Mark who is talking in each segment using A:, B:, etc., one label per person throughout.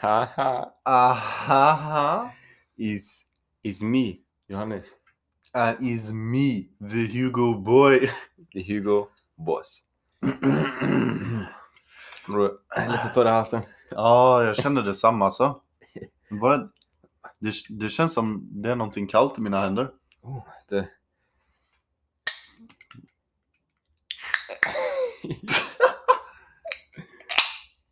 A: Haha,
B: Aha.
A: is is me, Johannes,
B: Uh, is me, the Hugo boy.
A: the Hugo Boss. Bror, jag är lite torr i halsen.
B: Ja, jag känner detsamma alltså. Vad? Det, det känns som det är någonting kallt i mina händer.
A: Oh, det...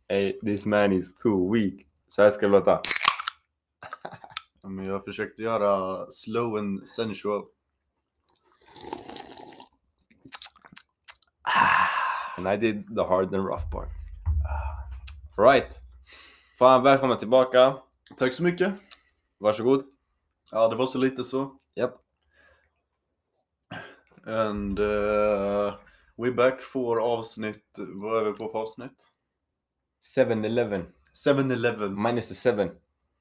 A: hey, this man is too weak. Så här ska det låta.
B: Men jag försökte göra slow and sensual.
A: And I did the hard and rough part. Ah. Right. Fan, välkomna tillbaka.
B: Tack så mycket.
A: Varsågod.
B: Ja, det var så lite så.
A: Japp.
B: And uh, we back for avsnitt, vad är vi på för avsnitt?
A: 7-Eleven.
B: 7-Eleven.
A: Minus the 7.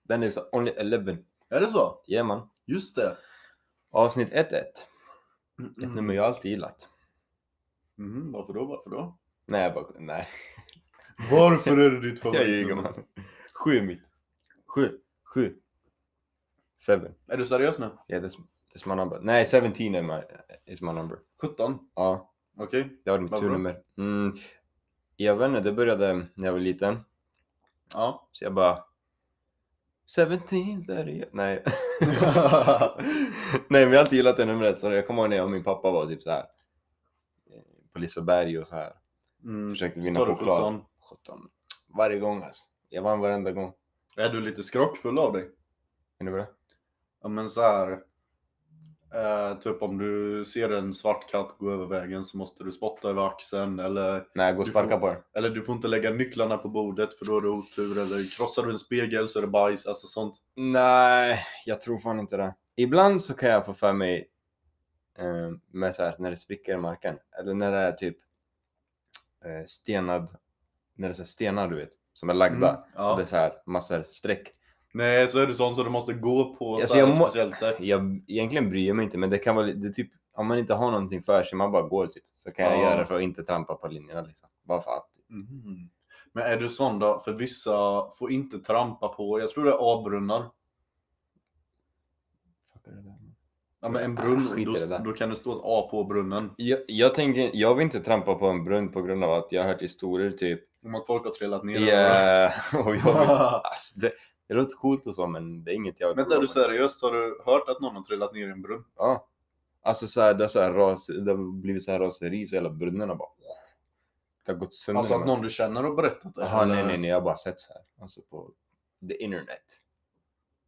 A: Then is only 11.
B: Är det så?
A: Yeah man.
B: Just det.
A: Avsnitt 1-1. Ett
B: Mm.
A: nummer jag alltid gillat.
B: Mhm, varför då, varför då?
A: Nej, jag bara... Nej.
B: Varför är det ditt
A: Jag
B: favoritnummer?
A: ljuger man. Sju är mitt. Sju. Sju. Seven.
B: Är du seriös nu?
A: Yeah, that's, that's my number. Nej, 17 är my, is my number.
B: 17?
A: Ja,
B: Okej.
A: det var mitt
B: Varför då?
A: turnummer. Mm, jag vet inte, det började när jag var liten.
B: Ja.
A: Så jag bara... 17, 30... Nej. Nej, men jag har alltid gillat det numret. Så jag kommer ihåg när jag och min pappa var typ så här. eh, På Liseberg och så här.
B: Mm.
A: Försökte vinna
B: Tar du
A: choklad.
B: 17?
A: 17. Varje gång alltså. Jag vann varenda gång.
B: Är du lite skrockfull av dig?
A: Är ni det?
B: Ja men så här. Eh, typ om du ser en svart katt gå över vägen så måste du spotta över axeln eller,
A: Nej, gå och
B: Du får-
A: sparka på den.
B: eller du får inte lägga nycklarna på bordet för då är det otur eller krossar du en spegel så är det bajs, alltså sånt.
A: Nej, jag tror fan inte det. Ibland så kan jag få för mig eh, med så här, när det spricker i marken. Eller när det är typ eh, stenad. När det är så här stenar du vet. Som är lagda.
B: Mm, ja.
A: Så det är så här massor streck.
B: Nej så är du sån så du måste gå på
A: Alltså,
B: så här
A: jag
B: ett
A: må-
B: speciellt sätt.
A: Jag egentligen bryr jag mig inte men det kan vara li- det är typ om man inte har någonting för sig, man bara går typ. Så kan jag
B: Ja.
A: göra det för att inte trampa på linjerna liksom. Bara för att.
B: Mhm. Men är du sån då? För vissa får inte trampa på, jag tror det är A-brunnar. Ja men en
A: Ah,
B: brunn,
A: skit i det
B: då,
A: där.
B: då kan det stå ett A på brunnen.
A: Jag, jag, tänker, jag vill inte trampa på en brunn på grund av att jag har hört historier typ.
B: Om att folk har trillat ner.
A: I, eh, och jag vill, ass, det, det låter coolt och så men det är inget jag vill
B: Vänta, är
A: prova
B: du
A: på.
B: seriöst? Har du hört att någon har trillat ner i en brunn?
A: Ja. Alltså så här, det, är så här ras, det har blivit så här raseri så hela brunnarna bara. Det har gått sönder.
B: Alltså att
A: men-
B: någon du känner har berättat det?
A: Jaha,
B: eller?
A: nej nej nej jag har bara sett så här. Alltså på the internet.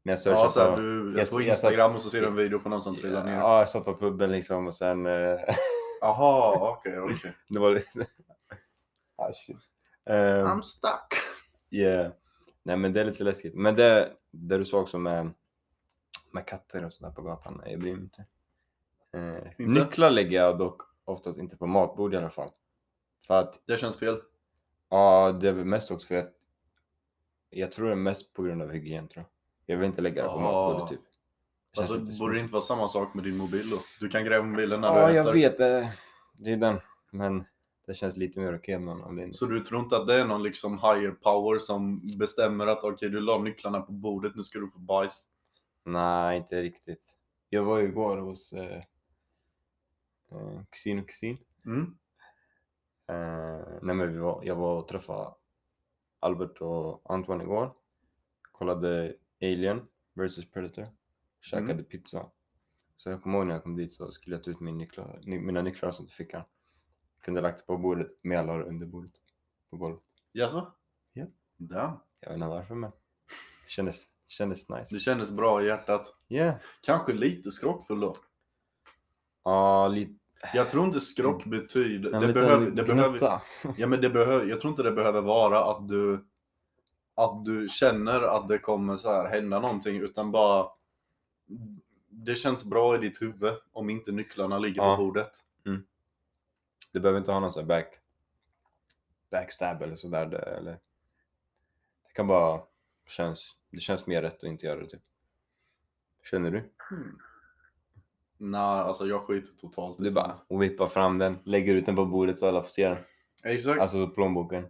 A: När jag
B: Ja,
A: searchade
B: så här,
A: på...
B: du är
A: jag-
B: på
A: jag satt-
B: Instagram och så ser du en video på någon som trillar ner.
A: Ja, jag satt på puben liksom och sen... eh,
B: Jaha, okej, okej.
A: det var lite... ah, shit. Ehm,
B: I'm stuck.
A: Yeah. Nej men det är lite läskigt. Men det, det du sa också med, med katter och sådär på gatan, nej, jag bryr mig inte. Eh, Nycklar lägger jag dock oftast inte på matbord i alla fall. För att,
B: Det känns fel.
A: ja det är väl mest också för att jag tror det är mest på grund av hygien tror jag. Jag vill inte lägga det på
B: Ja.
A: matbordet typ. Det känns
B: Alltså,
A: lite
B: borde det
A: smutsigt.
B: inte vara samma sak med din mobil då? Du kan gräva mobilen när
A: Ja,
B: du
A: jag
B: äter.
A: vet. eh, Det är den. Men det känns lite mer okej av någon anledning.
B: Så du tror inte att det är någon liksom higher power som bestämmer att okej, du la nycklarna på bordet, nu ska du få bajs.
A: Nej, inte riktigt. Jag var ju igår hos eh, eh, kusin och kusin.
B: Mm.
A: Eh, nej men vi var, jag var och träffade Albert och Antoine igår. Kollade Alien vs Predator. Käkade
B: Mm.
A: pizza. Så jag kommer ihåg när jag kom dit så skulle jag ta ut min nycklar, ny, mina nycklar och sånt i fickan. Kunde lagt på bordet, men jag la det under bordet. På golvet.
B: Jaså?
A: Ja.
B: Damn.
A: Jag vet inte varför men. Det kändes, kändes nice.
B: Det kändes bra i hjärtat.
A: Yeah.
B: Kanske lite skrockfull då.
A: Ja, lite.
B: Jag tror inte skrock betyder...
A: Mm. en
B: Det
A: liten
B: behöver, det behöver,
A: gnutta.
B: Ja men det behöver, jag tror inte det behöver vara att du att du känner att det kommer så här hända någonting utan bara det känns bra i ditt huvud om inte nycklarna ligger
A: Ja.
B: på bordet.
A: Du behöver inte ha någon sån här back, backstab eller sådär. det- Eller... Det kan bara känns, det känns mer rätt att inte göra det typ. Känner du?
B: Nej, alltså jag skiter totalt i
A: Du bara
B: sånt.
A: och vippar fram den, lägger ut den på bordet så alla får se den.
B: Exakt.
A: Alltså plånboken.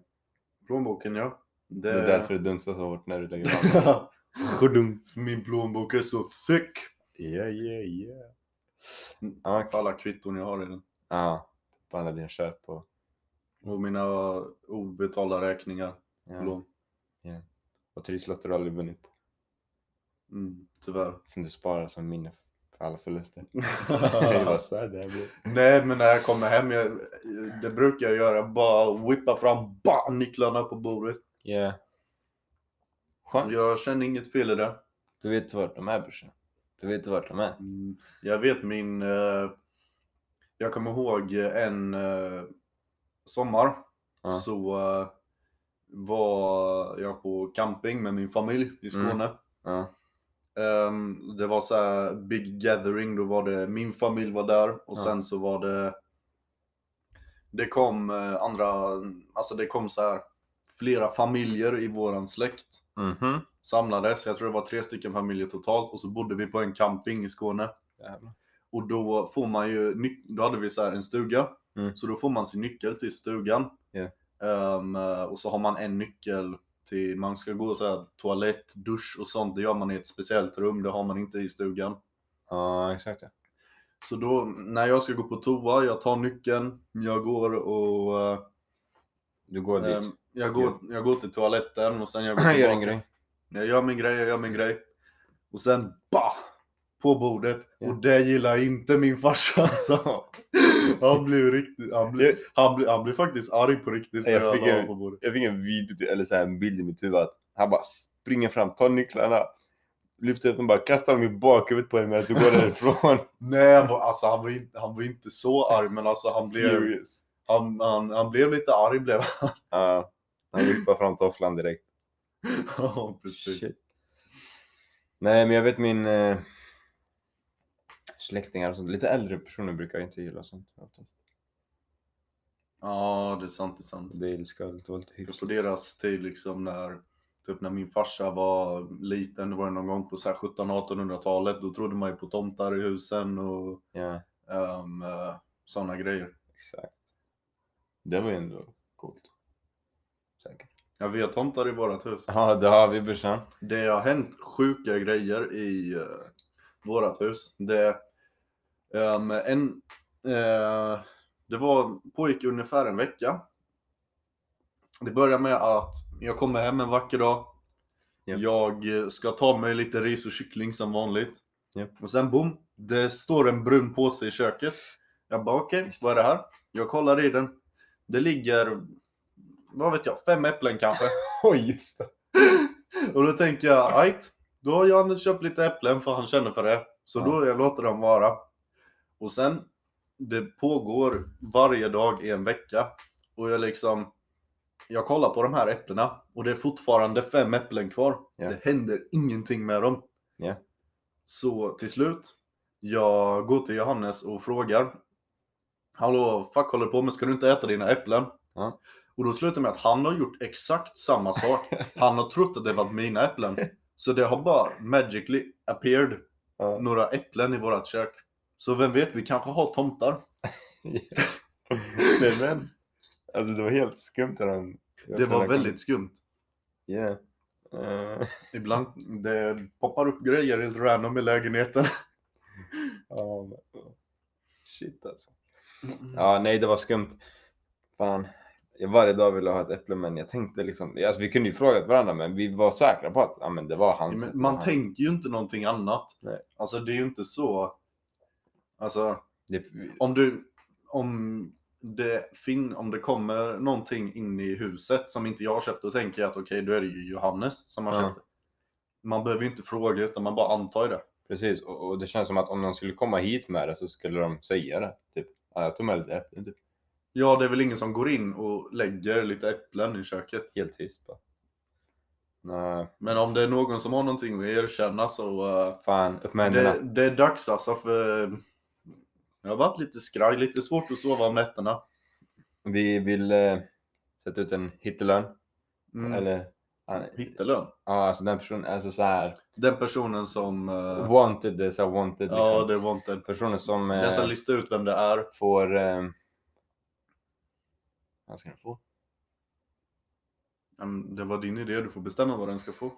B: Plånboken ja.
A: Det är därför det dunsar så hårt när du lägger av.
B: Skedum. Min plånbok är så thick.
A: Ja, ja, ja.
B: Mm.
A: Ja,
B: För alla kvitton jag har i den.
A: Ja, på alla dina köp och...
B: Och mina obetalda räkningar.
A: Ja.
B: Lån.
A: Och trisslotter har du aldrig vunnit på.
B: Mm, tyvärr.
A: Som du sparar som minne för alla förluster. Jag bara, så här det här blir.
B: Mm. Nej, men när jag kommer hem, jag, det brukar jag göra. Bara whippa fram bah, nycklarna på bordet.
A: Ja. Skönt.
B: Jag känner inget fel i det.
A: Du vet vart de är brorsan. Du vet vart de är.
B: Mm, Jag vet min... eh, Jag kommer ihåg en eh, sommar
A: Ja.
B: så eh, var jag på camping med min familj i
A: Mm.
B: Skåne.
A: Ja.
B: Ehm, det var så här big gathering, då var det min familj var där och
A: Ja.
B: sen så var det det kom eh, andra, alltså det kom så här flera familjer i våran släkt
A: Mhm.
B: samlades, jag tror det var tre stycken familjer totalt och så bodde vi på en camping i Skåne
A: Jävlar.
B: och då får man ju, nyc- då hade vi så här en stuga,
A: Mm.
B: så då får man sin nyckel till stugan
A: Ja.
B: Ehm, och så har man en nyckel till, man ska gå så här toalett, dusch och sånt, det gör man i ett speciellt rum, det har man inte i stugan.
A: Ja, exakt ja.
B: Så då när jag ska gå på toa, jag tar nyckeln, jag går och eh,
A: Du går dit.
B: ehm, jag, går, jag går till toaletten och sen jag går
A: gör en
B: tillbaka.
A: grej.
B: Jag gör min grej, jag gör min grej. Och sen bah! På bordet.
A: Ja.
B: Och det gillar inte min farsa alltså. Han blev riktigt, han blev, han blev, han blev faktiskt arg på riktigt för
A: Jag
B: jag
A: fick
B: la
A: en-
B: på bordet.
A: Jag fick en video, eller så här, en bild i mitt huvud att han bara springer fram, tar nycklarna, lyfter upp dem bara kastar dem i bakhuvudet på henne medan du går därifrån.
B: Nej, han var, alltså han var, inte, han var inte så arg men alltså han blev,
A: Furious.
B: han, han, han blev lite arg blev han.
A: Ja. Han vippar fram tofflan direkt.
B: Ja, precis.
A: Shit. Nej, men jag vet min eh, släktingar och sånt. Lite äldre personer brukar jag inte gilla sånt oftast.
B: Ja, det är sant, det är sant.
A: Det är det ska alltid vara lite
B: För
A: hyfsat.
B: på deras tid liksom när Typ när min farsa var liten, det var någon gång på 1700-1800-talet, då trodde man ju på tomtar i husen och
A: Ja,
B: um, sådana grejer.
A: exakt. Det var ju ändå coolt. Säkert.
B: Jag vet tomtar i vårat hus.
A: Ja, det har vi brorsan.
B: Det har hänt sjuka grejer i uh, vårat hus. Det, ehm, en, eh, det var, pågick ungefär en vecka. Det började med att jag kommer hem en vacker dag.
A: Japp.
B: Jag eh, ska ta mig lite ris och kyckling som vanligt.
A: Japp.
B: Och sen boom, det står en brun påse i köket. Jag bara okej, vad är det här? Jag kollar i den. Det ligger, vad vet jag, fem äpplen kanske.
A: Oj, just det.
B: Och då tänker jag, ajt, då har Johannes köpt lite äpplen för han känner för det. Så
A: Ja.
B: då jag låter dem vara. Och sen, det pågår varje dag i en vecka. Och jag liksom, jag kollar på de här äpplena och det är fortfarande fem äpplen kvar.
A: Ja.
B: Det händer ingenting med dem.
A: Ja.
B: Så till slut, jag går till Johannes och frågar. Hallå, fuck håller du på med? Ska du inte äta dina äpplen?
A: Ja.
B: Och då slutar det med att han har gjort exakt samma sak. Han har trott att det var mina äpplen. Så det har bara magically appeared
A: Ja.
B: några äpplen i vårat kök. Så vem vet, vi kanske har tomtar.
A: Nej, men. Alltså det var helt skumt när han...
B: Det var väldigt skumt.
A: Ja. Eh,
B: Ibland det poppar upp grejer helt random i lägenheten.
A: ja, men- Shit alltså. Ja, nej det var skumt. Fan. Jag varje dag ville ha ett äpple men jag tänkte liksom, alltså vi kunde ju frågat varandra men vi var säkra på att ja, men det var hans.
B: Men
A: äpple,
B: man
A: han-
B: tänker ju inte någonting annat.
A: Nej.
B: Alltså det är ju inte så. Alltså
A: det,
B: om du, om det, fin, om det kommer någonting in i huset som inte jag har köpt, då tänker jag att okej, då är det ju Johannes som har
A: Ja.
B: köpt det. Man behöver ju inte fråga utan man bara antar ju det.
A: Precis, och, och det känns som att om någon skulle komma hit med det så skulle de säga det. Typ, ja, jag tog med lite äpple, typ.
B: Ja, det är väl ingen som går in och lägger lite äpplen i köket.
A: Helt tyst bara. Nej,
B: Men om det är någon som har någonting att erkänna så eh,
A: fan, upp med händerna.
B: det, det är dags alltså för jag har varit lite skraj, lite svårt att sova om nätterna.
A: Vi vill eh, sätta ut en hittelön.
B: Mm.
A: Eller, ja,
B: Hittelön.
A: alltså den personen, alltså så här
B: Den personen som... eh,
A: wanted, det är så här wanted liksom.
B: ja, det var inte...
A: Personer som... eh,
B: Den som listar ut vem det är.
A: får... ehm, Vad ska den få?
B: Ja, men mm, Det var din idé, du får bestämma vad den ska få.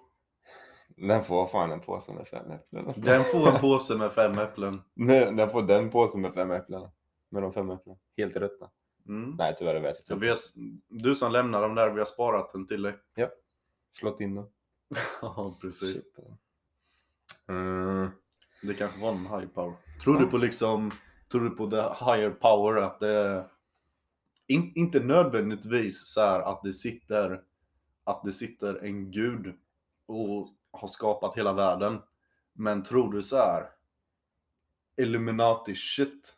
A: Den får fan en påse med fem äpplen. alltså.
B: Den får en påse med fem äpplen.
A: Nej, den får den påsen med fem äpplen. Med de fem äpplena. Helt ruttna.
B: Mm.
A: Nej, tyvärr det vet
B: Så
A: jag
B: vi
A: inte.
B: har, du som lämnar dem där, vi har sparat den till dig.
A: Slått in dem.
B: Ja, precis. Eh.
A: Shit. Mm.
B: Det kanske var en high power. Tror du
A: Ja.
B: på liksom, tror du på the higher power att det är- in, inte nödvändigtvis så här att det sitter, att det sitter en gud och har skapat hela världen. Men tror du så här Illuminati shit?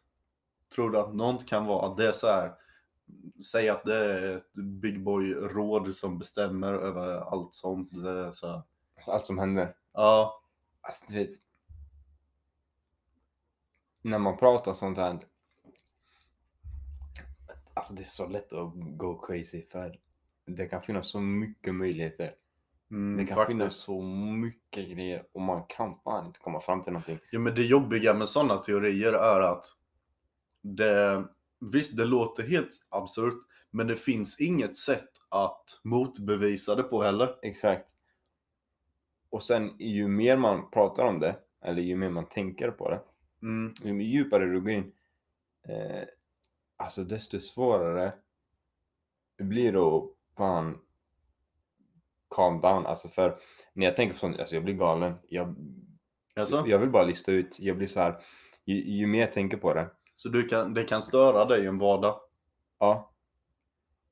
B: Tror du att något kan vara att det är så här Säg att det är ett big boy råd som bestämmer över allt sånt. Det är så här.
A: Alltså, allt som hände.
B: Ja,
A: Alltså, du vet. När man pratar sånt här. Alltså det är så lätt att go crazy för det kan finnas så mycket möjligheter.
B: mm,
A: Det kan
B: faktiskt.
A: finnas så mycket grejer och man kan fan inte komma fram till någonting.
B: Ja, men det jobbiga med sådana teorier är att det, visst, det låter helt absurt, men det finns inget sätt att motbevisa det på heller.
A: Exakt. Och sen ju mer man pratar om det, eller ju mer man tänker på det,
B: Mm,
A: ju djupare du går in, eh, alltså desto svårare det blir det att fan calm down. Alltså för när jag tänker på sånt, alltså jag blir galen. Jag,
B: alltså,
A: jag vill bara lista ut, jag blir så här, ju, ju mer jag tänker på det,
B: Så du kan, det kan störa dig i en vardag.
A: Ja.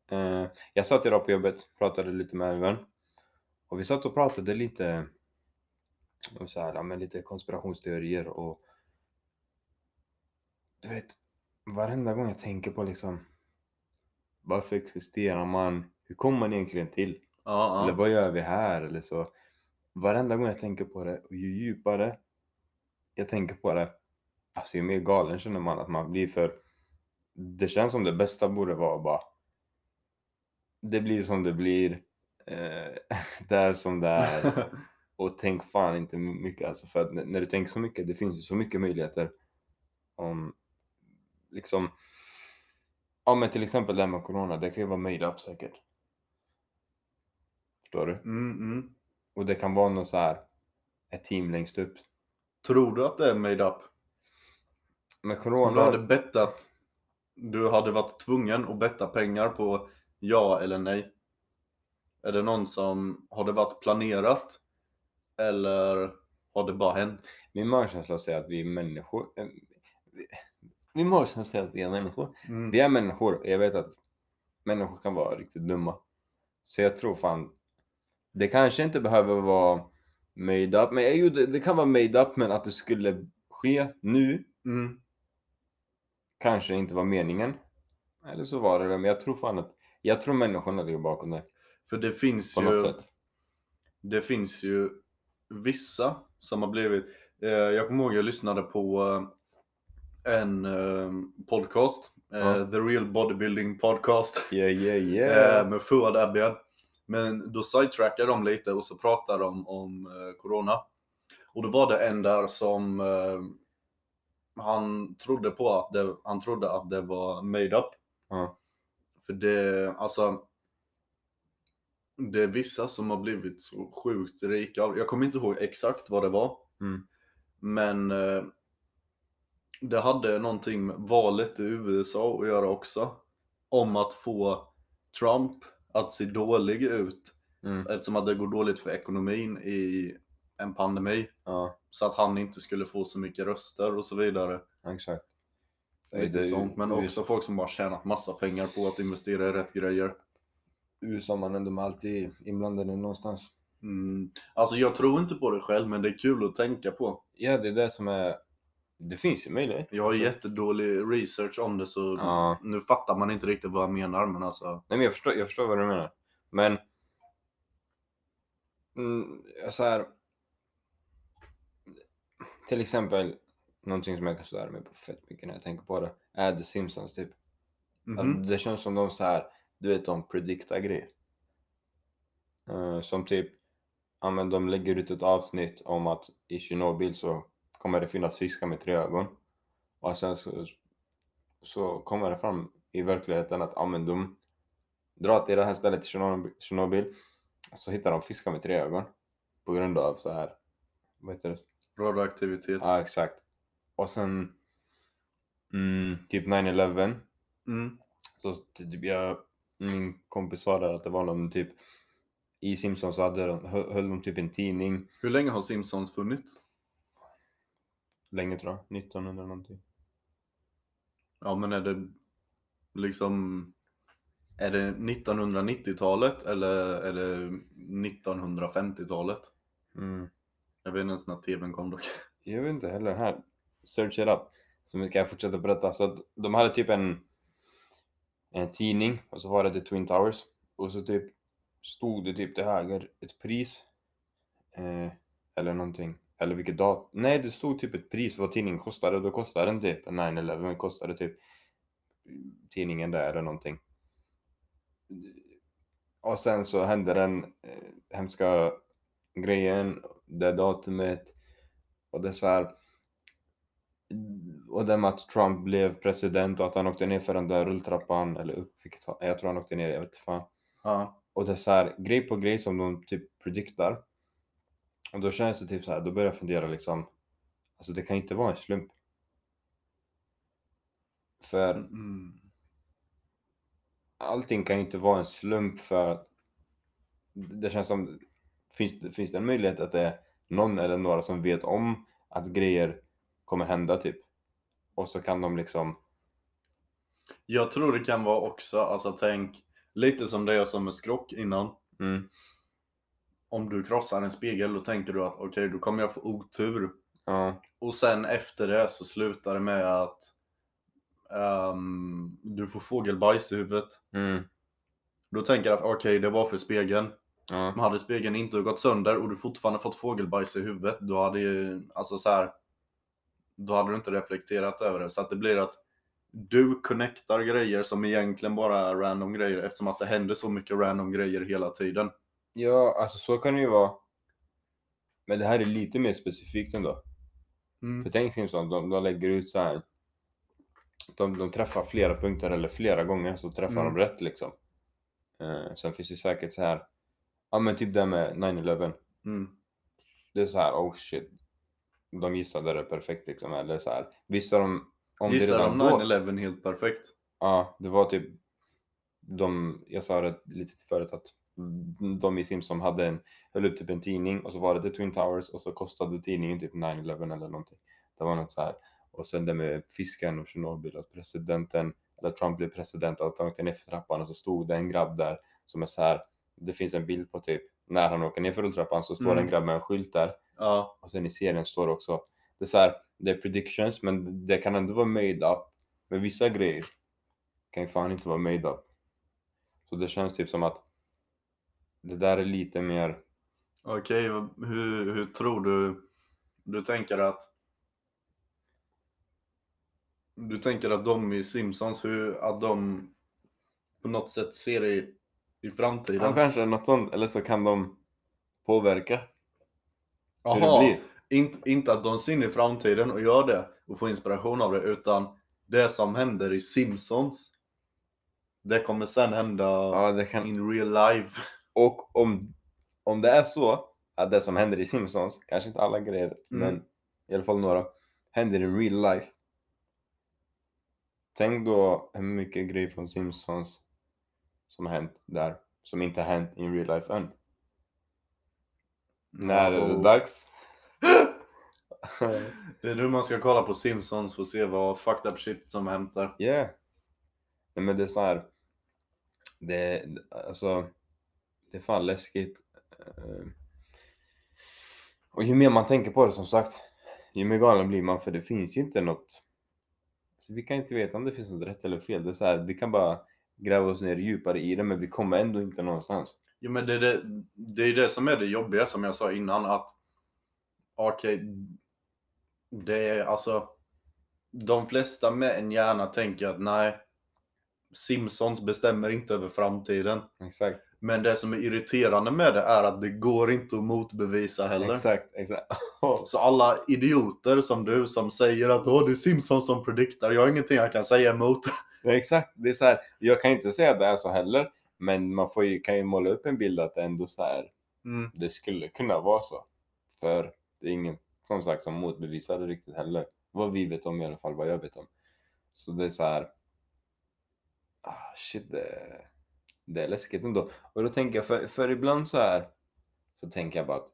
A: Eh, jag satt idag på jobbet, pratade lite med en vän. Och vi satt och pratade lite om så här, ja, men lite konspirationsteorier och du vet, varenda gång jag tänker på liksom varför existerar man? Hur kommer man egentligen till?
B: Ja,
A: Eller
B: ja.
A: vad gör vi här? Eller så. Varenda gång jag tänker på det och ju djupare jag tänker på det, alltså ju mer galen känner man att man blir för det känns som det bästa borde vara bara det blir som det blir, eh, det är som det är och tänk fan inte mycket alltså för att n- när du tänker så mycket, det finns ju så mycket möjligheter om liksom ja men till exempel det här med corona, det kan ju vara made up säkert. Förstår du?
B: mm, mm.
A: Och det kan vara någon så här ett team längst upp.
B: Tror du att det är made up?
A: Men
B: Om du
A: corona,
B: hade bettat, du hade varit tvungen att betta pengar på ja eller nej. Är det någon som, har det varit planerat? Eller har det bara hänt?
A: min magkänsla säger att vi är människor. eh, vi- Min magkänsla säger att vi är människor.
B: Mm.
A: Vi är människor och jag vet att människor kan vara riktigt dumma. Så jag tror fan, det kanske inte behöver vara made up, men eh, jo, det, det kan vara made up, men att det skulle ske nu
B: Mm.
A: kanske inte var meningen. Eller så var det det, men jag tror fan att, jag tror människorna ligger bakom det
B: För det finns,
A: på något
B: ju,
A: sätt.
B: det finns ju vissa som har blivit... Eh, jag kommer ihåg jag lyssnade på eh, en eh, podcast, eh,
A: Ja.
B: The Real Bodybuilding Podcast,
A: Yeah, yeah,
B: eh, med Fuad Abiad. Men då sidetrackade de lite och så pratade de om eh, Corona. Och då var det en där som eh, han trodde på att det, han trodde att det var made up.
A: Ja.
B: För det, alltså. Det är vissa som har blivit så sjukt rika. av- Jag kommer inte ihåg exakt vad det var.
A: Mm.
B: Men eh, det hade någonting med valet i USA att göra också. Om att få Trump att se dålig ut.
A: Mm.
B: Eftersom att det går dåligt för ekonomin i en pandemi.
A: Ja,
B: Så att han inte skulle få så mycket röster och så vidare.
A: exakt.
B: Lite
A: Det är ju-
B: sånt. Men också folk som bara tjänat massa pengar på att investera i rätt grejer.
A: USA mannen, de är alltid inblandade någonstans.
B: Mm. Alltså jag tror inte på det själv men det är kul att tänka på.
A: Ja, det är det som är... Det finns ju möjlighet.
B: Jag har
A: Alltså,
B: jättedålig research om det så
A: Ja.
B: nu fattar man inte riktigt vad jag menar men alltså.
A: Nej, men jag förstår, jag förstår vad du menar. Men... Mm, så här... Till exempel, någonting som jag kan störa mig på fett mycket när jag tänker på det, är The Simpsons typ.
B: mhm.
A: Alltså, det känns som de så här, du vet de prediktar grejer. Eh, som typ, ja men de lägger ut ett avsnitt om att i Tjernobyl så kommer det finnas fiskar med tre ögon. Och sen så, så kommer det fram i verkligheten att ja men de dra till det här stället i Tjernobyl- Tjernobyl. Så hittar de fiskar med tre ögon. På grund av så här. Vad heter det?
B: Radioaktivitet.
A: Ja, exakt. Och sen mm, typ 9-11.
B: Mm.
A: Så typ jag, min kompis sa där att det var någon typ i Simpsons så hade de, hö- höll de typ en tidning
B: Hur länge har Simpsons funnits?
A: länge tror jag, 1900 någonting.
B: Ja men är det liksom är det 1990-talet eller är det 1950-talet?
A: Mm.
B: Jag vet inte ens när tvn kom dock.
A: Jag vet inte heller, här, search it up. Så nu kan jag fortsätta berätta. Så att de hade typ en, en tidning och så var det The Twin Towers. Och så typ stod det typ till höger ett pris. Eh, eller någonting. Eller vilket datum. Nej, det stod typ ett pris vad tidningen kostade. Och då kostade den typ 9-11. kostade typ tidningen där eller någonting. Och sen så hände den eh, hemska grejen. Det datumet. Och det är så här. Och det med att Trump blev president och att han åkte ner för den där rulltrappan eller upp, vilket han- jag tror han åkte ner, jag vet inte fan.
B: Ja.
A: Och det är så här, grej på grej som de typ prediktar. Och då känns det typ så här, då börjar jag fundera liksom. Alltså det kan inte vara en slump. För
B: Mm.
A: allting kan ju inte vara en slump för att det känns som, finns, det- finns det en möjlighet att det är någon eller några som vet om att grejer kommer hända typ? Och så kan de liksom,
B: Jag tror det kan vara också, alltså tänk lite som det jag sa med skrock innan.
A: mm,
B: Om du krossar en spegel då tänker du att okej då kommer jag få otur.
A: ja,
B: Och sen efter det så slutar det med att ehm, du får fågelbajs i huvudet.
A: mm,
B: Då tänker jag att okej det var för spegeln.
A: ja,
B: Men hade spegeln inte gått sönder och du fortfarande fått fågelbajs i huvudet, då hade ju, alltså så här, då hade du inte reflekterat över det. Så att det blir att du connectar grejer som egentligen bara är random grejer eftersom att det händer så mycket random grejer hela tiden.
A: ja, alltså så kan det ju vara. Men det här är lite mer specifikt ändå.
B: Mm.
A: För tänk Simpsons, de, de lägger ut så här. De, de träffar flera punkter eller flera gånger så träffar
B: Mm.
A: de rätt liksom. Eh, sen finns det säkert så här. Ja men typ det här med 9-11.
B: Mm.
A: Det är så här, oh shit. De gissade det perfekt liksom. Eller så här. Visste de om det
B: Gissar
A: redan
B: de
A: då?
B: 9-11 helt perfekt?
A: Ja, det var typ de, jag sa det lite förut att de i Simpsons hade en, höll upp typ en tidning och så var det The Twin Towers och så kostade tidningen typ 9-11 eller någonting. Det var något så här. Och sen det med fisken och Tjernobyl att presidenten, eller Trump blev president och att han åkte ner för trappan och så stod det en grabb där som är så här. Det finns en bild på typ när han åker ner för rulltrappan så står det
B: Mm.
A: en grabb med en skylt där
B: Ja.
A: och sen i serien står det också, det är så här, det är predictions men det kan ändå vara made up. Men vissa grejer kan ju fan inte vara made up. Så det känns typ som att det där är lite mer,
B: Okej, vad- hur, hur tror du? Du tänker att du tänker att de i Simpsons, hur, att de på något sätt ser i, i framtiden?
A: ja, kanske något sånt, eller så kan de påverka hur
B: Aha,
A: det blir.
B: Inte, inte att de ser in i framtiden och gör det och får inspiration av det, utan det som händer i Simpsons, det kommer sen hända
A: Ja, det kan...
B: in real life.
A: Och om, om det är så att det som händer i Simpsons, kanske inte alla grejer, men i alla fall några, händer i real life. Tänk då hur mycket grejer från Simpsons som har hänt där, som inte har hänt in real life än. När är det
B: Och-
A: dags?
B: Det är nu man ska kolla på Simpsons för att se vad fucked up shit som händer.
A: Yeah. Nej men det är så här. Det, alltså, det är fan läskigt. Eh, Och ju mer man tänker på det som sagt, ju mer galen blir man för det finns ju inte något. Så vi kan inte veta om det finns något rätt eller fel. Det är så här, vi kan bara gräva oss ner djupare i det men vi kommer ändå inte någonstans.
B: Jo men det är det, det är det som är det jobbiga som jag sa innan att okej, det är alltså de flesta med en hjärna tänker att nej, Simpsons bestämmer inte över framtiden.
A: Exakt.
B: Men det som är irriterande med det är att det går inte att motbevisa heller.
A: Exakt, exakt.
B: Så alla idioter som du som säger att Åh, det är Simpsons som prediktar, jag har ingenting jag kan säga emot.
A: Ja, exakt, det är så här, jag kan inte säga att det är så heller, Men man får ju, kan ju måla upp en bild att det ändå så här,
B: Mm.
A: det skulle kunna vara så. För det är ingen som sagt som motbevisar det riktigt heller. Vad vi vet om i alla fall, vad jag vet om. Så det är så här. Ah, shit, det, det är läskigt ändå. Och då tänker jag, för, för ibland så här så tänker jag bara att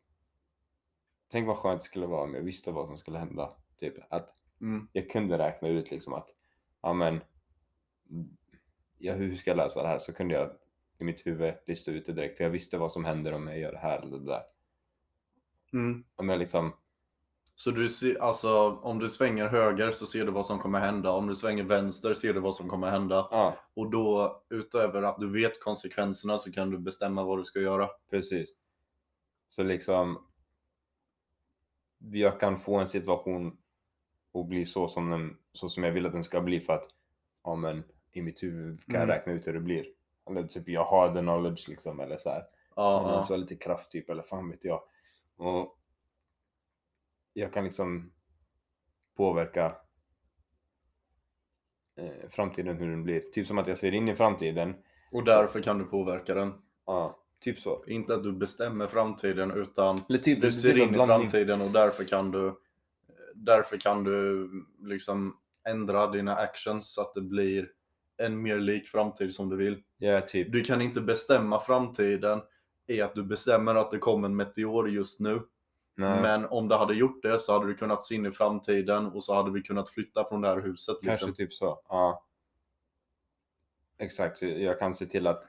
A: tänk vad skönt det skulle vara om jag visste vad som skulle hända. Typ att
B: Mm.
A: jag kunde räkna ut liksom att ja men ja, hur ska jag lösa det här? Så kunde jag i mitt huvud lista ut det direkt för jag visste vad som händer om jag gör det här eller det där.
B: Mm.
A: Om jag liksom,
B: Så du ser, alltså, om du svänger höger så ser du vad som kommer hända. Om du svänger vänster ser du vad som kommer hända.
A: ja
B: Och då, utöver att du vet konsekvenserna, så kan du bestämma vad du ska göra.
A: precis. Så liksom jag kan få en situation och bli så som, den, så som jag vill att den ska bli för att ja men i mitt huvud kan jag
B: Mm.
A: räkna ut hur det blir. Eller typ jag har the knowledge liksom eller så här.
B: Ja,
A: Han har
B: ja.
A: också lite kraft typ, eller fan vet jag. Och jag kan liksom påverka eh, framtiden hur den blir. Typ som att jag ser in i framtiden.
B: Och därför kan du påverka den.
A: Ja, typ så.
B: Inte att du bestämmer framtiden, utan
A: Eller typ,
B: du ser
A: typ en
B: in i
A: blandning.
B: framtiden och därför kan du därför kan du liksom ändra dina actions så att det blir en mer lik framtid som du vill.
A: Ja, typ.
B: Du kan inte bestämma framtiden i att du bestämmer att det kommer en meteor just nu.
A: Nej,
B: Men om du hade gjort det så hade du kunnat se in i framtiden och så hade vi kunnat flytta från det här huset.
A: kanske
B: Liksom.
A: typ så. Ja. Exakt, så jag kan se till att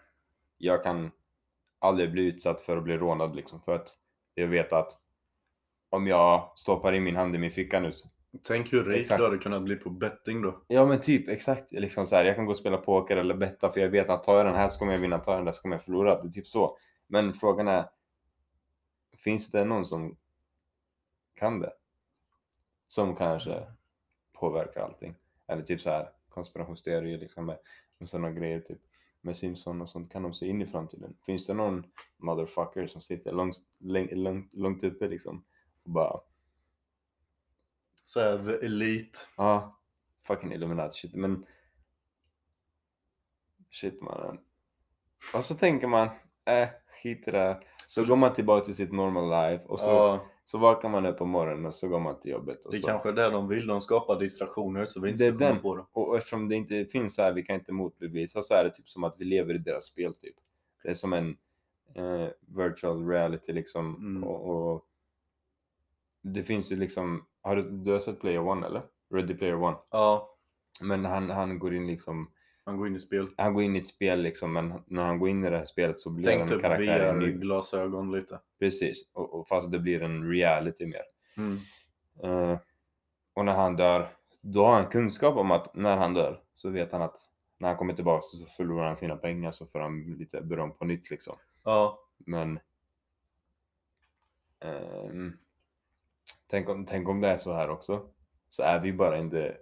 A: jag kan aldrig bli utsatt för att bli rånad liksom. För att jag vet att om jag stoppar in min hand i min ficka nu så
B: Tänk hur rik
A: Exakt.
B: du hade kunnat bli på betting då.
A: Ja men typ exakt. Liksom så här, jag kan gå och spela poker eller betta för jag vet att tar jag den här så kommer jag vinna, tar jag den där så kommer jag förlora. Det är typ så. Men frågan är, finns det någon som kan det? Som kanske påverkar allting. Eller typ så här konspirationsteorier liksom med, med sådana grejer typ. Med Simpson och sånt, kan de se in i framtiden? Finns det någon motherfucker som sitter långt, långt, långt, långt uppe liksom och bara
B: Så här, the elite.
A: Ja, fucking Illuminati shit men... Shit mannen. Och så tänker man, äh, skit i det här. Så går man tillbaka till sitt normal life och så,
B: Ja,
A: så vaknar man upp på morgonen och så går man till jobbet. Och,
B: det
A: så.
B: kanske är det de vill. De skapar distraktioner så vi inte
A: Det
B: ska
A: är
B: komma
A: den.
B: på det.
A: och och eftersom det inte finns så här, vi kan inte motbevisa, så är det typ som att vi lever i deras spel typ. Det är som en eh, virtual reality liksom.
B: Mm.
A: Och, och det finns ju liksom, har du, du har sett Player One eller? Ready Player One.
B: Ja,
A: Men han, han går in liksom
B: man går in i spel.
A: han går in i ett spel liksom, men när han går in i det här spelet så blir
B: Tänk
A: han
B: typ
A: en karaktär i en ny...
B: VR-glasögon lite.
A: Precis, och, och fast det blir en reality mer.
B: Mm.
A: Eh, och när han dör, då har han kunskap om att när han dör så vet han att när han kommer tillbaka så förlorar han sina pengar så får han lite beröm på nytt liksom.
B: Ja,
A: Men... ehm, tänk, om, tänk om det är så här också. Så är vi bara inte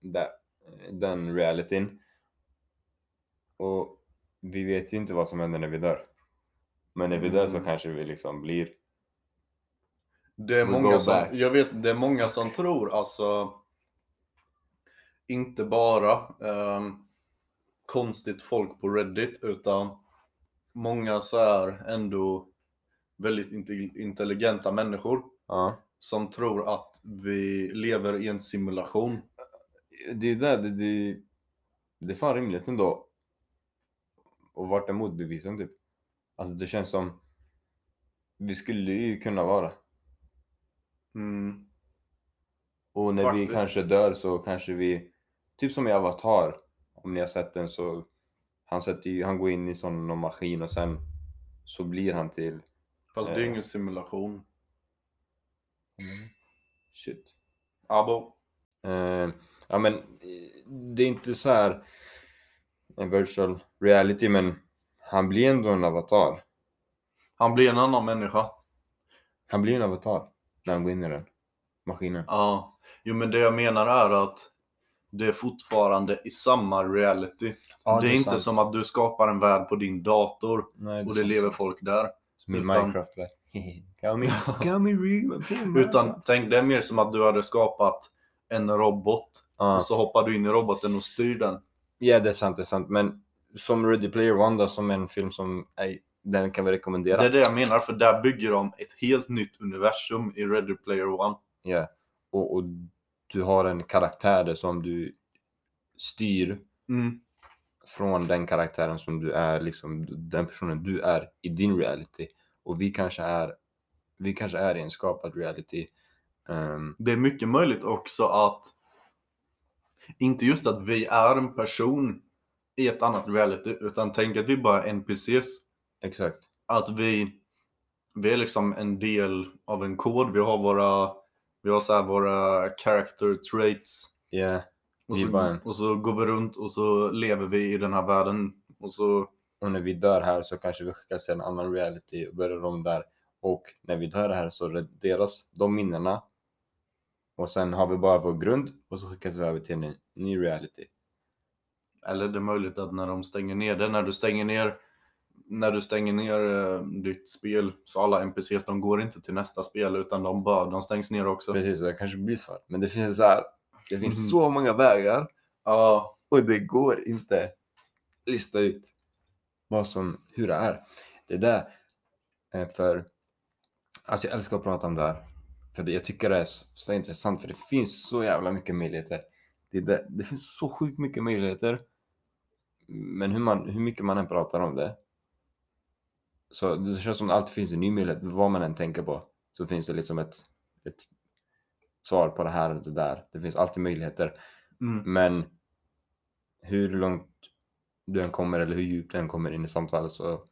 A: där, den realityn. Och vi vet ju inte vad som händer när vi dör. Men när vi dör så
B: Mm.
A: kanske vi liksom blir...
B: det är,
A: We
B: många
A: go
B: som,
A: back.
B: jag vet, det är många som tror alltså inte bara ehm, konstigt folk på Reddit utan många så här ändå väldigt inte- intelligenta människor
A: Ja.
B: som tror att vi lever i en simulation.
A: Det är där, det, det, det är fan rimligt ändå. Och vart är motbevisen typ? Alltså det känns som... Vi skulle ju kunna vara det.
B: Mm.
A: Och när vi
B: Faktiskt.
A: kanske dör så kanske vi, typ som i Avatar, om ni har sett den så han, sätter ju, han går in i sån någon maskin och sen så blir han till...
B: Fast det är
A: Eh.
B: ingen simulation.
A: Shit.
B: Abo.
A: Eh, ja men eh, det är inte så här en virtual reality men han blir ändå en avatar.
B: Han blir en annan människa.
A: Han blir en avatar när han går in i den maskinen.
B: Ja, jo men det jag menar är att det är fortfarande i samma reality. det, är inte som att du skapar en värld på din dator
A: Nej,
B: och det lever folk där.
A: Som i
B: utan-
A: Minecraft va? Come in, come in, real-
B: Utan tänk, det är mer som att du hade skapat en robot
A: Ja.
B: och så hoppar du in i roboten och styr den.
A: Ja, det är sant, det är sant. Men som Ready Player One då, som en film som ej, den kan vi rekommendera.
B: Det är det jag menar, för där bygger de ett helt nytt universum i Ready Player One.
A: Ja. Och, och du har en karaktär där som du styr
B: Mm.
A: från den karaktären som du är, liksom den personen du är i din reality. Och vi kanske är, vi kanske är i en skapad reality. Ehm,
B: Det är mycket möjligt också att, inte just att vi är en person i ett annat reality, utan tänk att vi bara är NPCs
A: exakt.
B: att vi, vi är liksom en del av en kod. Vi har våra, vi har så här våra character traits.
A: Ja,
B: Och
A: Vi är bara
B: så,
A: en-
B: och så går vi runt och så lever vi i den här världen. Och så,
A: och när vi dör här så kanske vi skickas till en annan reality och börjar om där. Och när vi dör här så raderas de minnena. Och sen har vi bara vår grund och så skickas vi över till en ny reality.
B: eller det är möjligt att när de stänger ner det, när du stänger ner när du stänger ner eh, ditt spel så alla NPCs de går inte till nästa spel utan de bara, de stängs ner också.
A: Precis, så det kanske blir svart. Men det finns så här, det finns
B: Mhm.
A: så många vägar
B: Ja,
A: Och det går inte lista ut vad som, hur det är. Det där är för... Alltså jag älskar att prata om det här. För det, jag tycker det är så, så intressant för det finns så jävla mycket möjligheter. Det, där, det finns så sjukt mycket möjligheter. Men hur, man, hur mycket man än pratar om det. Så det känns som det alltid finns en ny möjlighet. Vad man än tänker på så finns det liksom ett, ett svar på det här och det där. Det finns alltid möjligheter.
B: mm,
A: Men hur långt du än kommer eller hur djupt du än kommer in i samtalet så,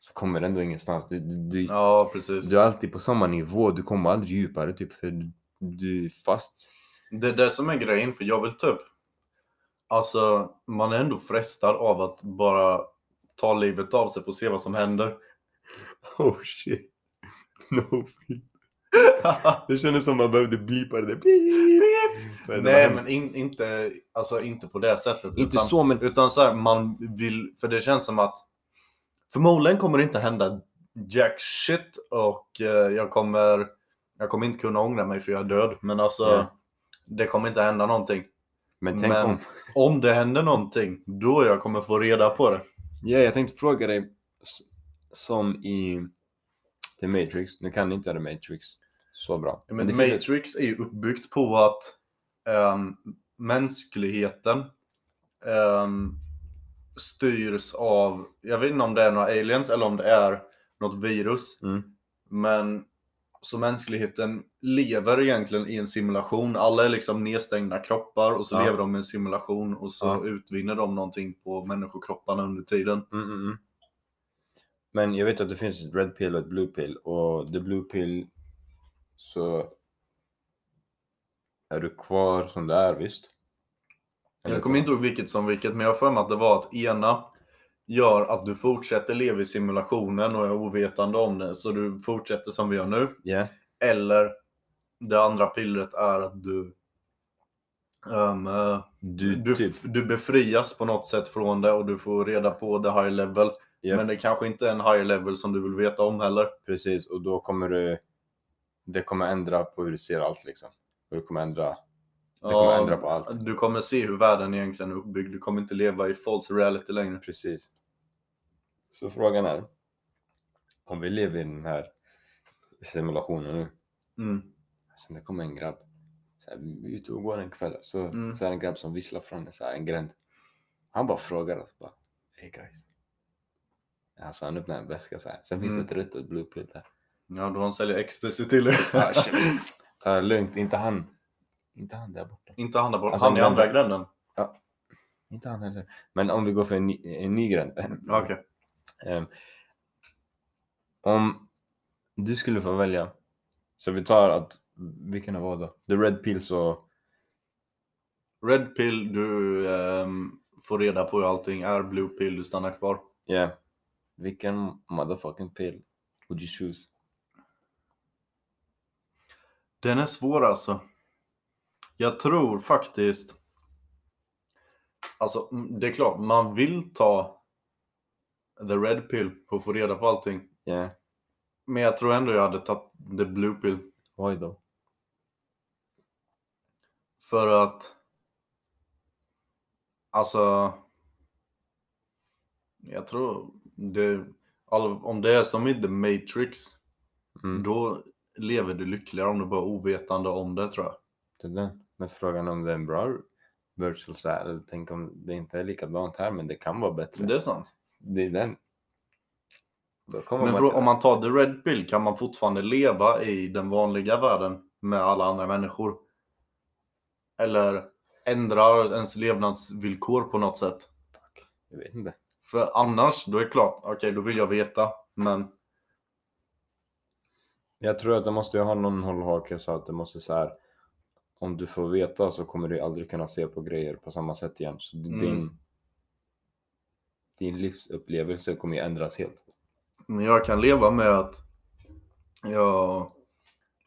A: så kommer det ändå ingenstans. Du, du, du,
B: ja precis.
A: du är alltid på samma nivå, du kommer aldrig djupare typ för du, du är fast.
B: Det är det som är grejen, för jag vill typ... Alltså, man är ändå frestad av att bara ta livet av sig för att se vad som händer.
A: Oh shit. No. Det kändes som man behövde blipa det där. Men det var
B: Nej,
A: hemskt.
B: men in, inte, alltså, inte på det sättet.
A: Inte
B: utan
A: så men...
B: utan så här, man vill... För det känns som att förmodligen kommer det inte hända jack shit och eh, jag kommer... Jag kommer inte kunna ångra mig för jag är död, men alltså...
A: Ja.
B: Det kommer inte hända någonting.
A: Men tänk
B: men-
A: om.
B: Om det händer någonting, då jag kommer få reda på det.
A: Ja, jag tänkte fråga dig s- som i The Matrix. Nu kan inte jag The Matrix så bra.
B: Ja, Men
A: det finns ett-
B: Matrix är ju uppbyggt på att ehm, mänskligheten ehm, styrs av, jag vet inte om det är några aliens eller om det är något virus,
A: Mm.
B: men så mänskligheten lever egentligen i en simulation. Alla är liksom nedstängda kroppar och så
A: Ja.
B: lever de i en simulation och så
A: Ja.
B: utvinner de någonting på människokropparna under tiden.
A: Mm, mm, mm. Men jag vet att det finns ett red pill och ett blue pill och the blue pill så är du kvar som du är visst?
B: Jag kommer inte ihåg vilket som vilket, men jag har för mig att det var att ena gör att du fortsätter leva i simulationen och är ovetande om det, så du fortsätter som vi gör nu.
A: Ja,
B: Eller det andra pillret är att du ehm, eh,
A: du,
B: du,
A: typ.
B: du befrias på något sätt från det och du får reda på the high level.
A: Ja.
B: Men det kanske inte är en high level som du vill veta om heller.
A: Precis, och då kommer du... Det kommer ändra på hur du ser allt liksom. Och det kommer ändra, det kommer
B: Ja,
A: ändra på allt.
B: Du kommer se hur världen egentligen är uppbyggd. Du kommer inte leva i false reality längre.
A: Precis. Så frågan är, om vi lever i den här simulationen nu,
B: Mm.
A: Sen det kommer en grabb. Så här, vi är ute och går en kväll. Så,
B: Mm.
A: så är det en grabb som visslar från en, så här, en gränd. Han bara frågar oss bara. Hey guys. Alltså han öppnar en väska så här. Sen finns
B: Mm.
A: det ett rött och ett blue pill där.
B: Ja, då han säljer ecstasy till dig.
A: Ah, shit. Ta det lugnt, inte han. Inte han där borta.
B: Inte han där borta,
A: Alltså,
B: han i
A: men-
B: andra gränden.
A: Inte han heller. Men om vi går för en ny, en ny gränd.
B: Okej.
A: Ehm, om du skulle få välja. Så vi tar att, vilken det var då? The red pill så,
B: Red pill, du ehm, får reda på hur allting är. Blue pill, du stannar kvar.
A: yeah. Vilken motherfucking pill would you choose?
B: Den är svår alltså. Jag tror faktiskt... Alltså, mm, det är klart, man vill ta the red pill för att få reda på allting.
A: Yeah.
B: Men jag tror ändå jag hade tagit the blue pill.
A: Oj då.
B: För att... Alltså... Jag tror det, all, om det är som i The Matrix,
A: Mm.
B: då lever du lyckligare om du bara är ovetande om det tror jag.
A: Det är den. Men frågan om det är en bra virtual så här, eller tänk om det inte är likadant här men det kan vara bättre.
B: Det är sant.
A: Det är den. Då kommer
B: Men
A: man
B: frå-
A: till-
B: om man tar the red pill kan man fortfarande leva i den vanliga världen med alla andra människor? Eller ändrar ens levnadsvillkor på något sätt?
A: Jag vet inte.
B: För annars, då är det klart, okej då vill jag veta, men
A: Jag tror att det måste ju ha någon hållhake så att det måste så här. Om du får veta så kommer du aldrig kunna se på grejer på samma sätt igen. Så
B: Mm.
A: din, din livsupplevelse kommer ju ändras helt.
B: Men jag kan leva med att jag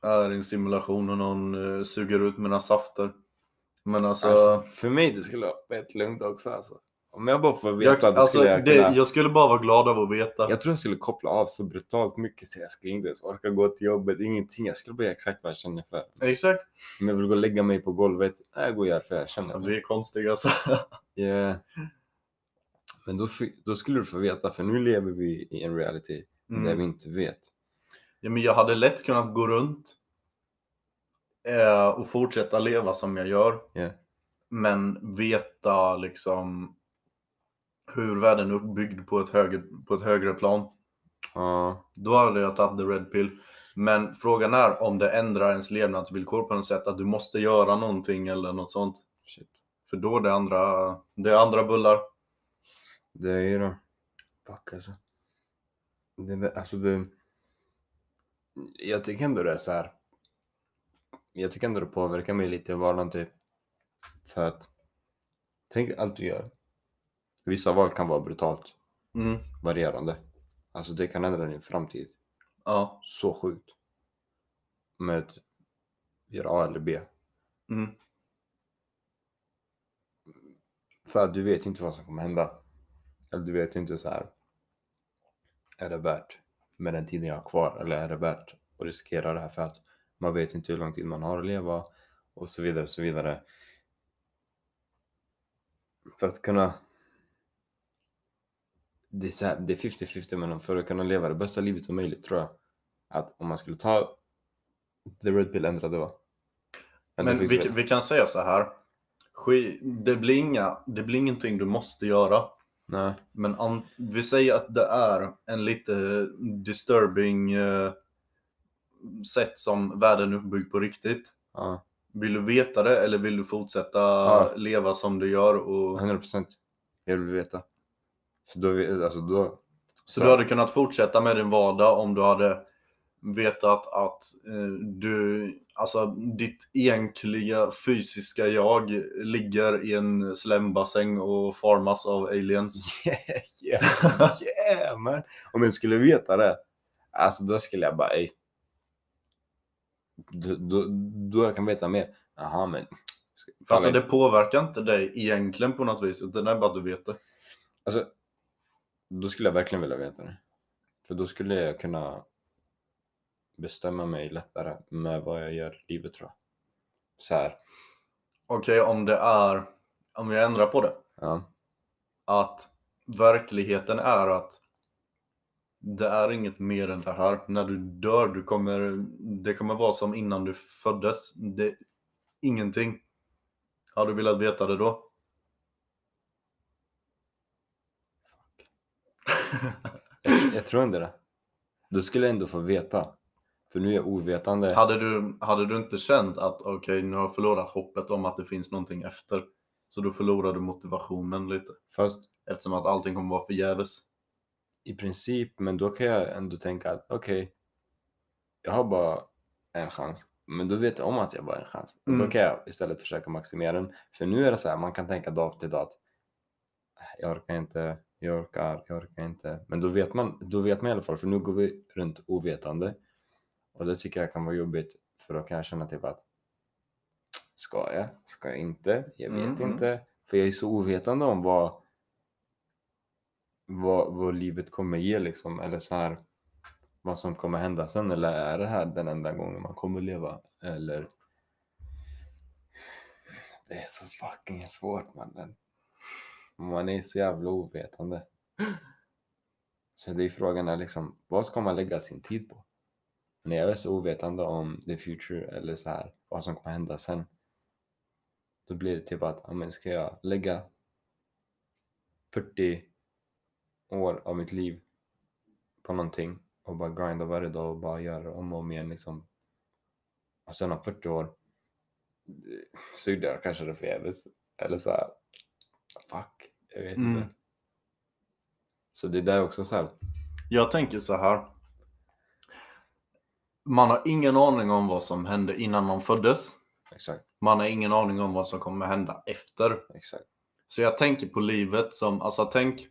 B: är i en simulation och någon eh, suger ut mina safter. Men alltså,
A: Alltså, för mig det skulle vara fett lugnt också alltså. Om jag bara får veta
B: jag,
A: att det
B: alltså
A: skulle jag kunna...
B: det, jag skulle bara vara glad av att veta.
A: Jag tror jag skulle koppla av så brutalt mycket så jag skulle inte ens orka gå till jobbet, ingenting. Jag skulle bara göra exakt vad jag känner för.
B: Exakt.
A: Om jag vill gå och lägga mig på golvet, nej, jag går och gör för jag känner för.
B: Vi är konstiga alltså.
A: Yeah. Men då, fi- då skulle du få veta, för nu lever vi i en reality där vi
B: Mm.
A: inte vet.
B: Ja, men jag hade lätt kunnat gå runt eh, och fortsätta leva som jag gör.
A: Ja.
B: Men veta liksom hur världen är uppbyggd på ett högre, på ett högre plan.
A: Ja,
B: Då hade jag tagit the red pill. Men frågan är om det ändrar ens levnadsvillkor på något sätt. Att du måste göra någonting eller något sånt.
A: shit.
B: För då är det andra, det är andra bullar.
A: Det är ju då. Fuck alltså. Det, där- alltså det... Jag tycker ändå det är så här. Jag tycker ändå det påverkar mig lite i vardagen typ. För att. Tänk allt du gör. Vissa val kan vara brutalt
B: Mm.
A: varierande. Alltså det kan ändra din framtid.
B: Ja.
A: Så sjukt. Med att göra A eller B.
B: Mm.
A: För att du vet inte vad som kommer hända. Eller du vet inte så här. Är det värt med den tiden jag har kvar? Eller är det värt att riskera det här för att man vet inte hur lång tid man har att leva och så vidare och så vidare. För att kunna. Det är, så här, det är 50-50 men för att kunna leva det bästa livet som möjligt tror jag att om man skulle ta the red pill ändrade va? Ändå
B: Men
A: fick
B: vi,
A: vi-
B: vi kan säga så här. Ski- Det blir, inga, det blir ingenting du måste göra.
A: Nej.
B: Men an, vi säger att det är en lite disturbing eh, sätt som världen är uppbyggd på riktigt.
A: Ja,
B: Vill du veta det eller vill du fortsätta
A: Ja.
B: leva som du gör? Och...
A: 100 procent. Jag vill veta. För då, alltså då,
B: Så du hade kunnat fortsätta med din vardag om du hade vetat att eh, du, alltså ditt egentliga fysiska jag ligger i en slembassäng och formas av aliens.
A: Yeah, yeah, yeah man. Om jag skulle veta det, alltså då skulle jag bara, ey. Då, då, då jag kan veta mer. Jaha, men.
B: Alltså det påverkar inte dig egentligen på något vis, utan det är bara att du vet det.
A: Alltså, då skulle jag verkligen vilja veta det. För då skulle jag kunna bestämma mig lättare med vad jag gör i livet tror jag. Så här,
B: Okej, om det är, om jag ändrar på det,
A: ja.
B: att verkligheten är att det är inget mer än det här. När du dör, du kommer, det kommer vara som innan du föddes. Det, ingenting. Har du velat veta det då?
A: Jag, tr- jag tror inte det. Då skulle jag ändå få veta. För nu är jag ovetande.
B: hade, du, hade du inte känt att okej, nu har jag förlorat hoppet om att det finns någonting efter. Så då förlorar du motivationen lite.
A: Fast
B: Eftersom att allting kommer vara förgäves.
A: i princip, men då kan jag ändå tänka att okej, jag har bara en chans. Men då vet jag om att jag bara har en chans. Och
B: Mm.
A: Då kan jag istället försöka maximera den. För nu är det så här, man kan tänka dag till dag att "Äh, jag orkar inte, jag orkar, jag orkar inte. Men då vet man, då vet man i alla fall, för nu går vi runt ovetande. Och det tycker jag kan vara jobbigt, för då kan jag känna typ att ska jag, ska jag inte, jag vet
B: Mm, mm.
A: inte. För jag är så ovetande om vad vad, vad livet kommer ge liksom eller så här vad som kommer hända sen eller är det här den enda gången man kommer leva eller det är så fucking svårt mannen. Man är så jävla ovetande. Så det är frågan är liksom, vad ska man lägga sin tid på? När jag är så ovetande om the future eller så här, vad som kommer hända sen. Då blir det typ att, ja, men ska jag lägga 40 år av mitt liv på någonting och bara grinda varje dag och bara göra om och om igen liksom. Och sen om 40 år eh, suddar jag kanske det förgäves. Eller så här, fuck, jag vet
B: Mm.
A: inte. Så det där är också så här,
B: Jag tänker så här. Man har ingen aning om vad som hände innan man föddes.
A: exakt,
B: Man har ingen aning om vad som kommer hända efter.
A: exakt.
B: Så jag tänker på livet som, alltså tänk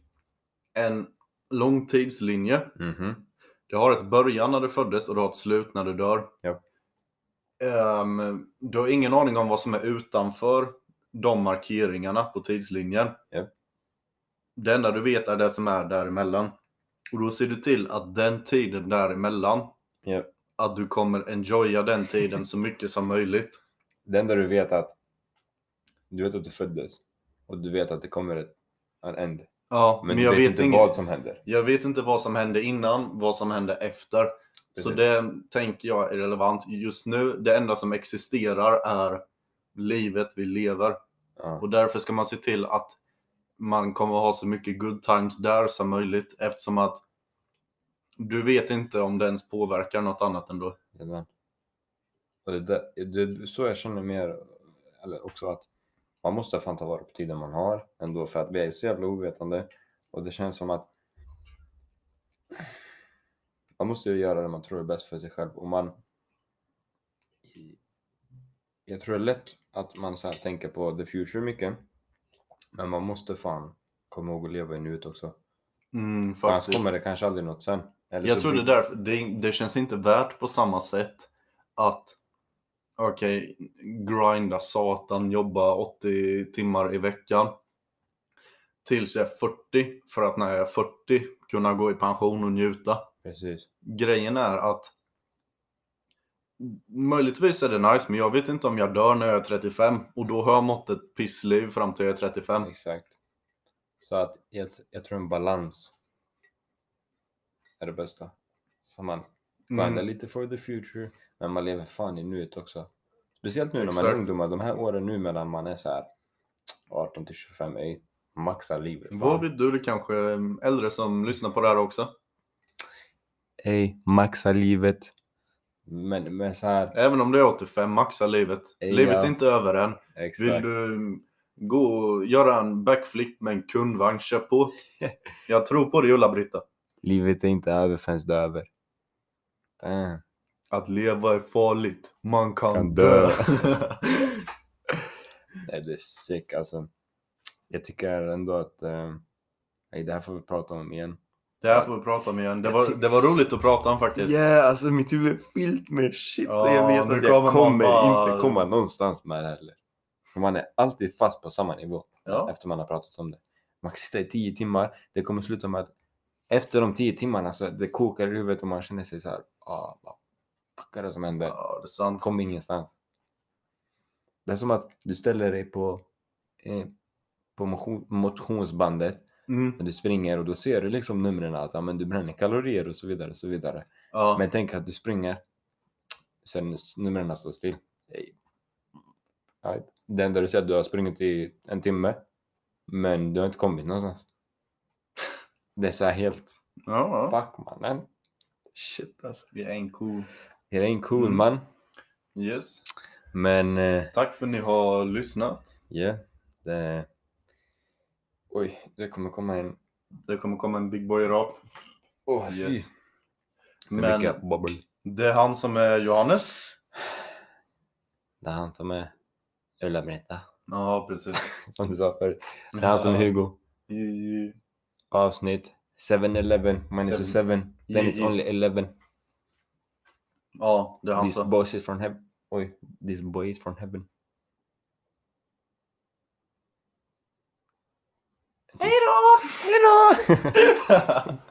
B: en lång tidslinje.
A: Mhm,
B: Du har ett början när du föddes och du har ett slut när du dör.
A: Ja.
B: Ehm, du har ingen aning om vad som är utanför de markeringarna på tidslinjen.
A: Ja.
B: Det enda du vet är det som är däremellan. Och då ser du till att den tiden däremellan,
A: Ja.
B: att du kommer enjoya den tiden så mycket som möjligt.
A: Det enda du vet är att du vet att du föddes och du vet att det kommer ett en end.
B: Ja,
A: Men, du vet, inte
B: inget-
A: vad som händer.
B: Jag vet inte vad som hände innan, vad som hände efter. Så
A: Precis.
B: det tänker jag är relevant just nu. Det enda som existerar är livet vi lever.
A: Ja,
B: Och därför ska man se till att man kommer ha så mycket good times där som möjligt eftersom att du vet inte om det ens påverkar något annat ändå.
A: det där. Och det där, det är så jag känner mer, eller också att man måste fan ta vara på tiden man har ändå för att vi är så jävla ovetande och det känns som att man måste ju göra det man tror är bäst för sig själv och man jag tror det är lätt att man så här tänker på the future mycket men man måste fan komma ihåg att leva i nuet också
B: Mm,
A: För annars
B: faktiskt.
A: kommer det kanske aldrig något sen. Eller
B: Jag
A: så
B: tror det
A: blir-
B: därför, det, det känns inte värt på samma sätt att okej, grinda satan, jobba 80 timmar i veckan tills jag är 40 för att när jag är 40 kunna gå i pension och njuta.
A: Precis.
B: Grejen är att möjligtvis är det nice, men jag vet inte om jag dör när jag är 35 och då har jag mått ett pissliv fram till jag är 35.
A: Exakt. Så att jag, jag tror en balans är det bästa. Så man grindar
B: Mm.
A: lite for the future, men man lever fan i nuet också. Speciellt nu när man
B: Exakt.
A: är ungdomar, de här åren nu mellan man är så här 18 till 25 är ju maxa livet.
B: Vad
A: fan.
B: vet du, det kanske är äldre som lyssnar på det här också?
A: Ey, maxa livet. Men, men så här,
B: Även om du är 85, maxa livet.
A: Ja.
B: Livet är inte över än.
A: exakt.
B: Vill du gå och göra en backflip med en kundvagn, kör på. Jag tror på dig Ulla-Britta.
A: Livet är inte över förrän det är över. Damn.
B: Att leva är farligt. Man kan,
A: Kan
B: dö.
A: dö. Nej, det är sick alltså. Jag tycker ändå att... Eh, nej, det här får vi prata om igen.
B: det här får vi prata om igen. Det var,
A: Jag ty-
B: det var roligt att prata om faktiskt.
A: Yeah, alltså mitt huvud är fyllt med shit.
B: Ja,
A: jag
B: nu
A: vet att
B: kommer man
A: jag kommer
B: bara-
A: inte komma någonstans med det heller. För man är alltid fast på samma nivå
B: Ja.
A: efter man har pratat om det. Man kan sitta i tio timmar. Det kommer sluta med att efter de tio timmarna så det kokar i huvudet och man känner sig så här. Ah, vad fuck är det som händer?
B: ja, det är sant.
A: kom ingenstans. Det är som att du ställer dig på, eh, på motion, motionsbandet
B: Mm.
A: när du springer och då ser du liksom numren att ja, men du bränner kalorier och så vidare. Och så vidare.
B: Ja.
A: Men tänk att du springer sen s- numren står still. Ej. Ja, Det enda du ser är att du har sprungit i en timme men du har inte kommit någonstans. Det är så här helt
B: ja. ja.
A: fuck mannen. Shit alltså.
B: Vi är en cool.
A: Det är en cool
B: Mm.
A: man
B: Yes.
A: men eh,
B: Tack för att ni har lyssnat.
A: Ja, det... Oj, det kommer komma en...
B: Det kommer komma en Big Boy-rap.
A: Åh,
B: Yes.
A: Men...
B: Men det är han som är Johannes.
A: Det är han som är Ulla-Britta,
B: Ja, precis.
A: som du sa förut. Det är han som är Hugo.
B: Hugo.
A: Avsnitt 7-Eleven, minus
B: Seven.
A: 7. Then it's
B: Yeah.
A: only 11.
B: Ja, det är han
A: These
B: som...
A: boys is from heaven. Oj, these boys from heaven.
B: Hej då!
A: Hejdå!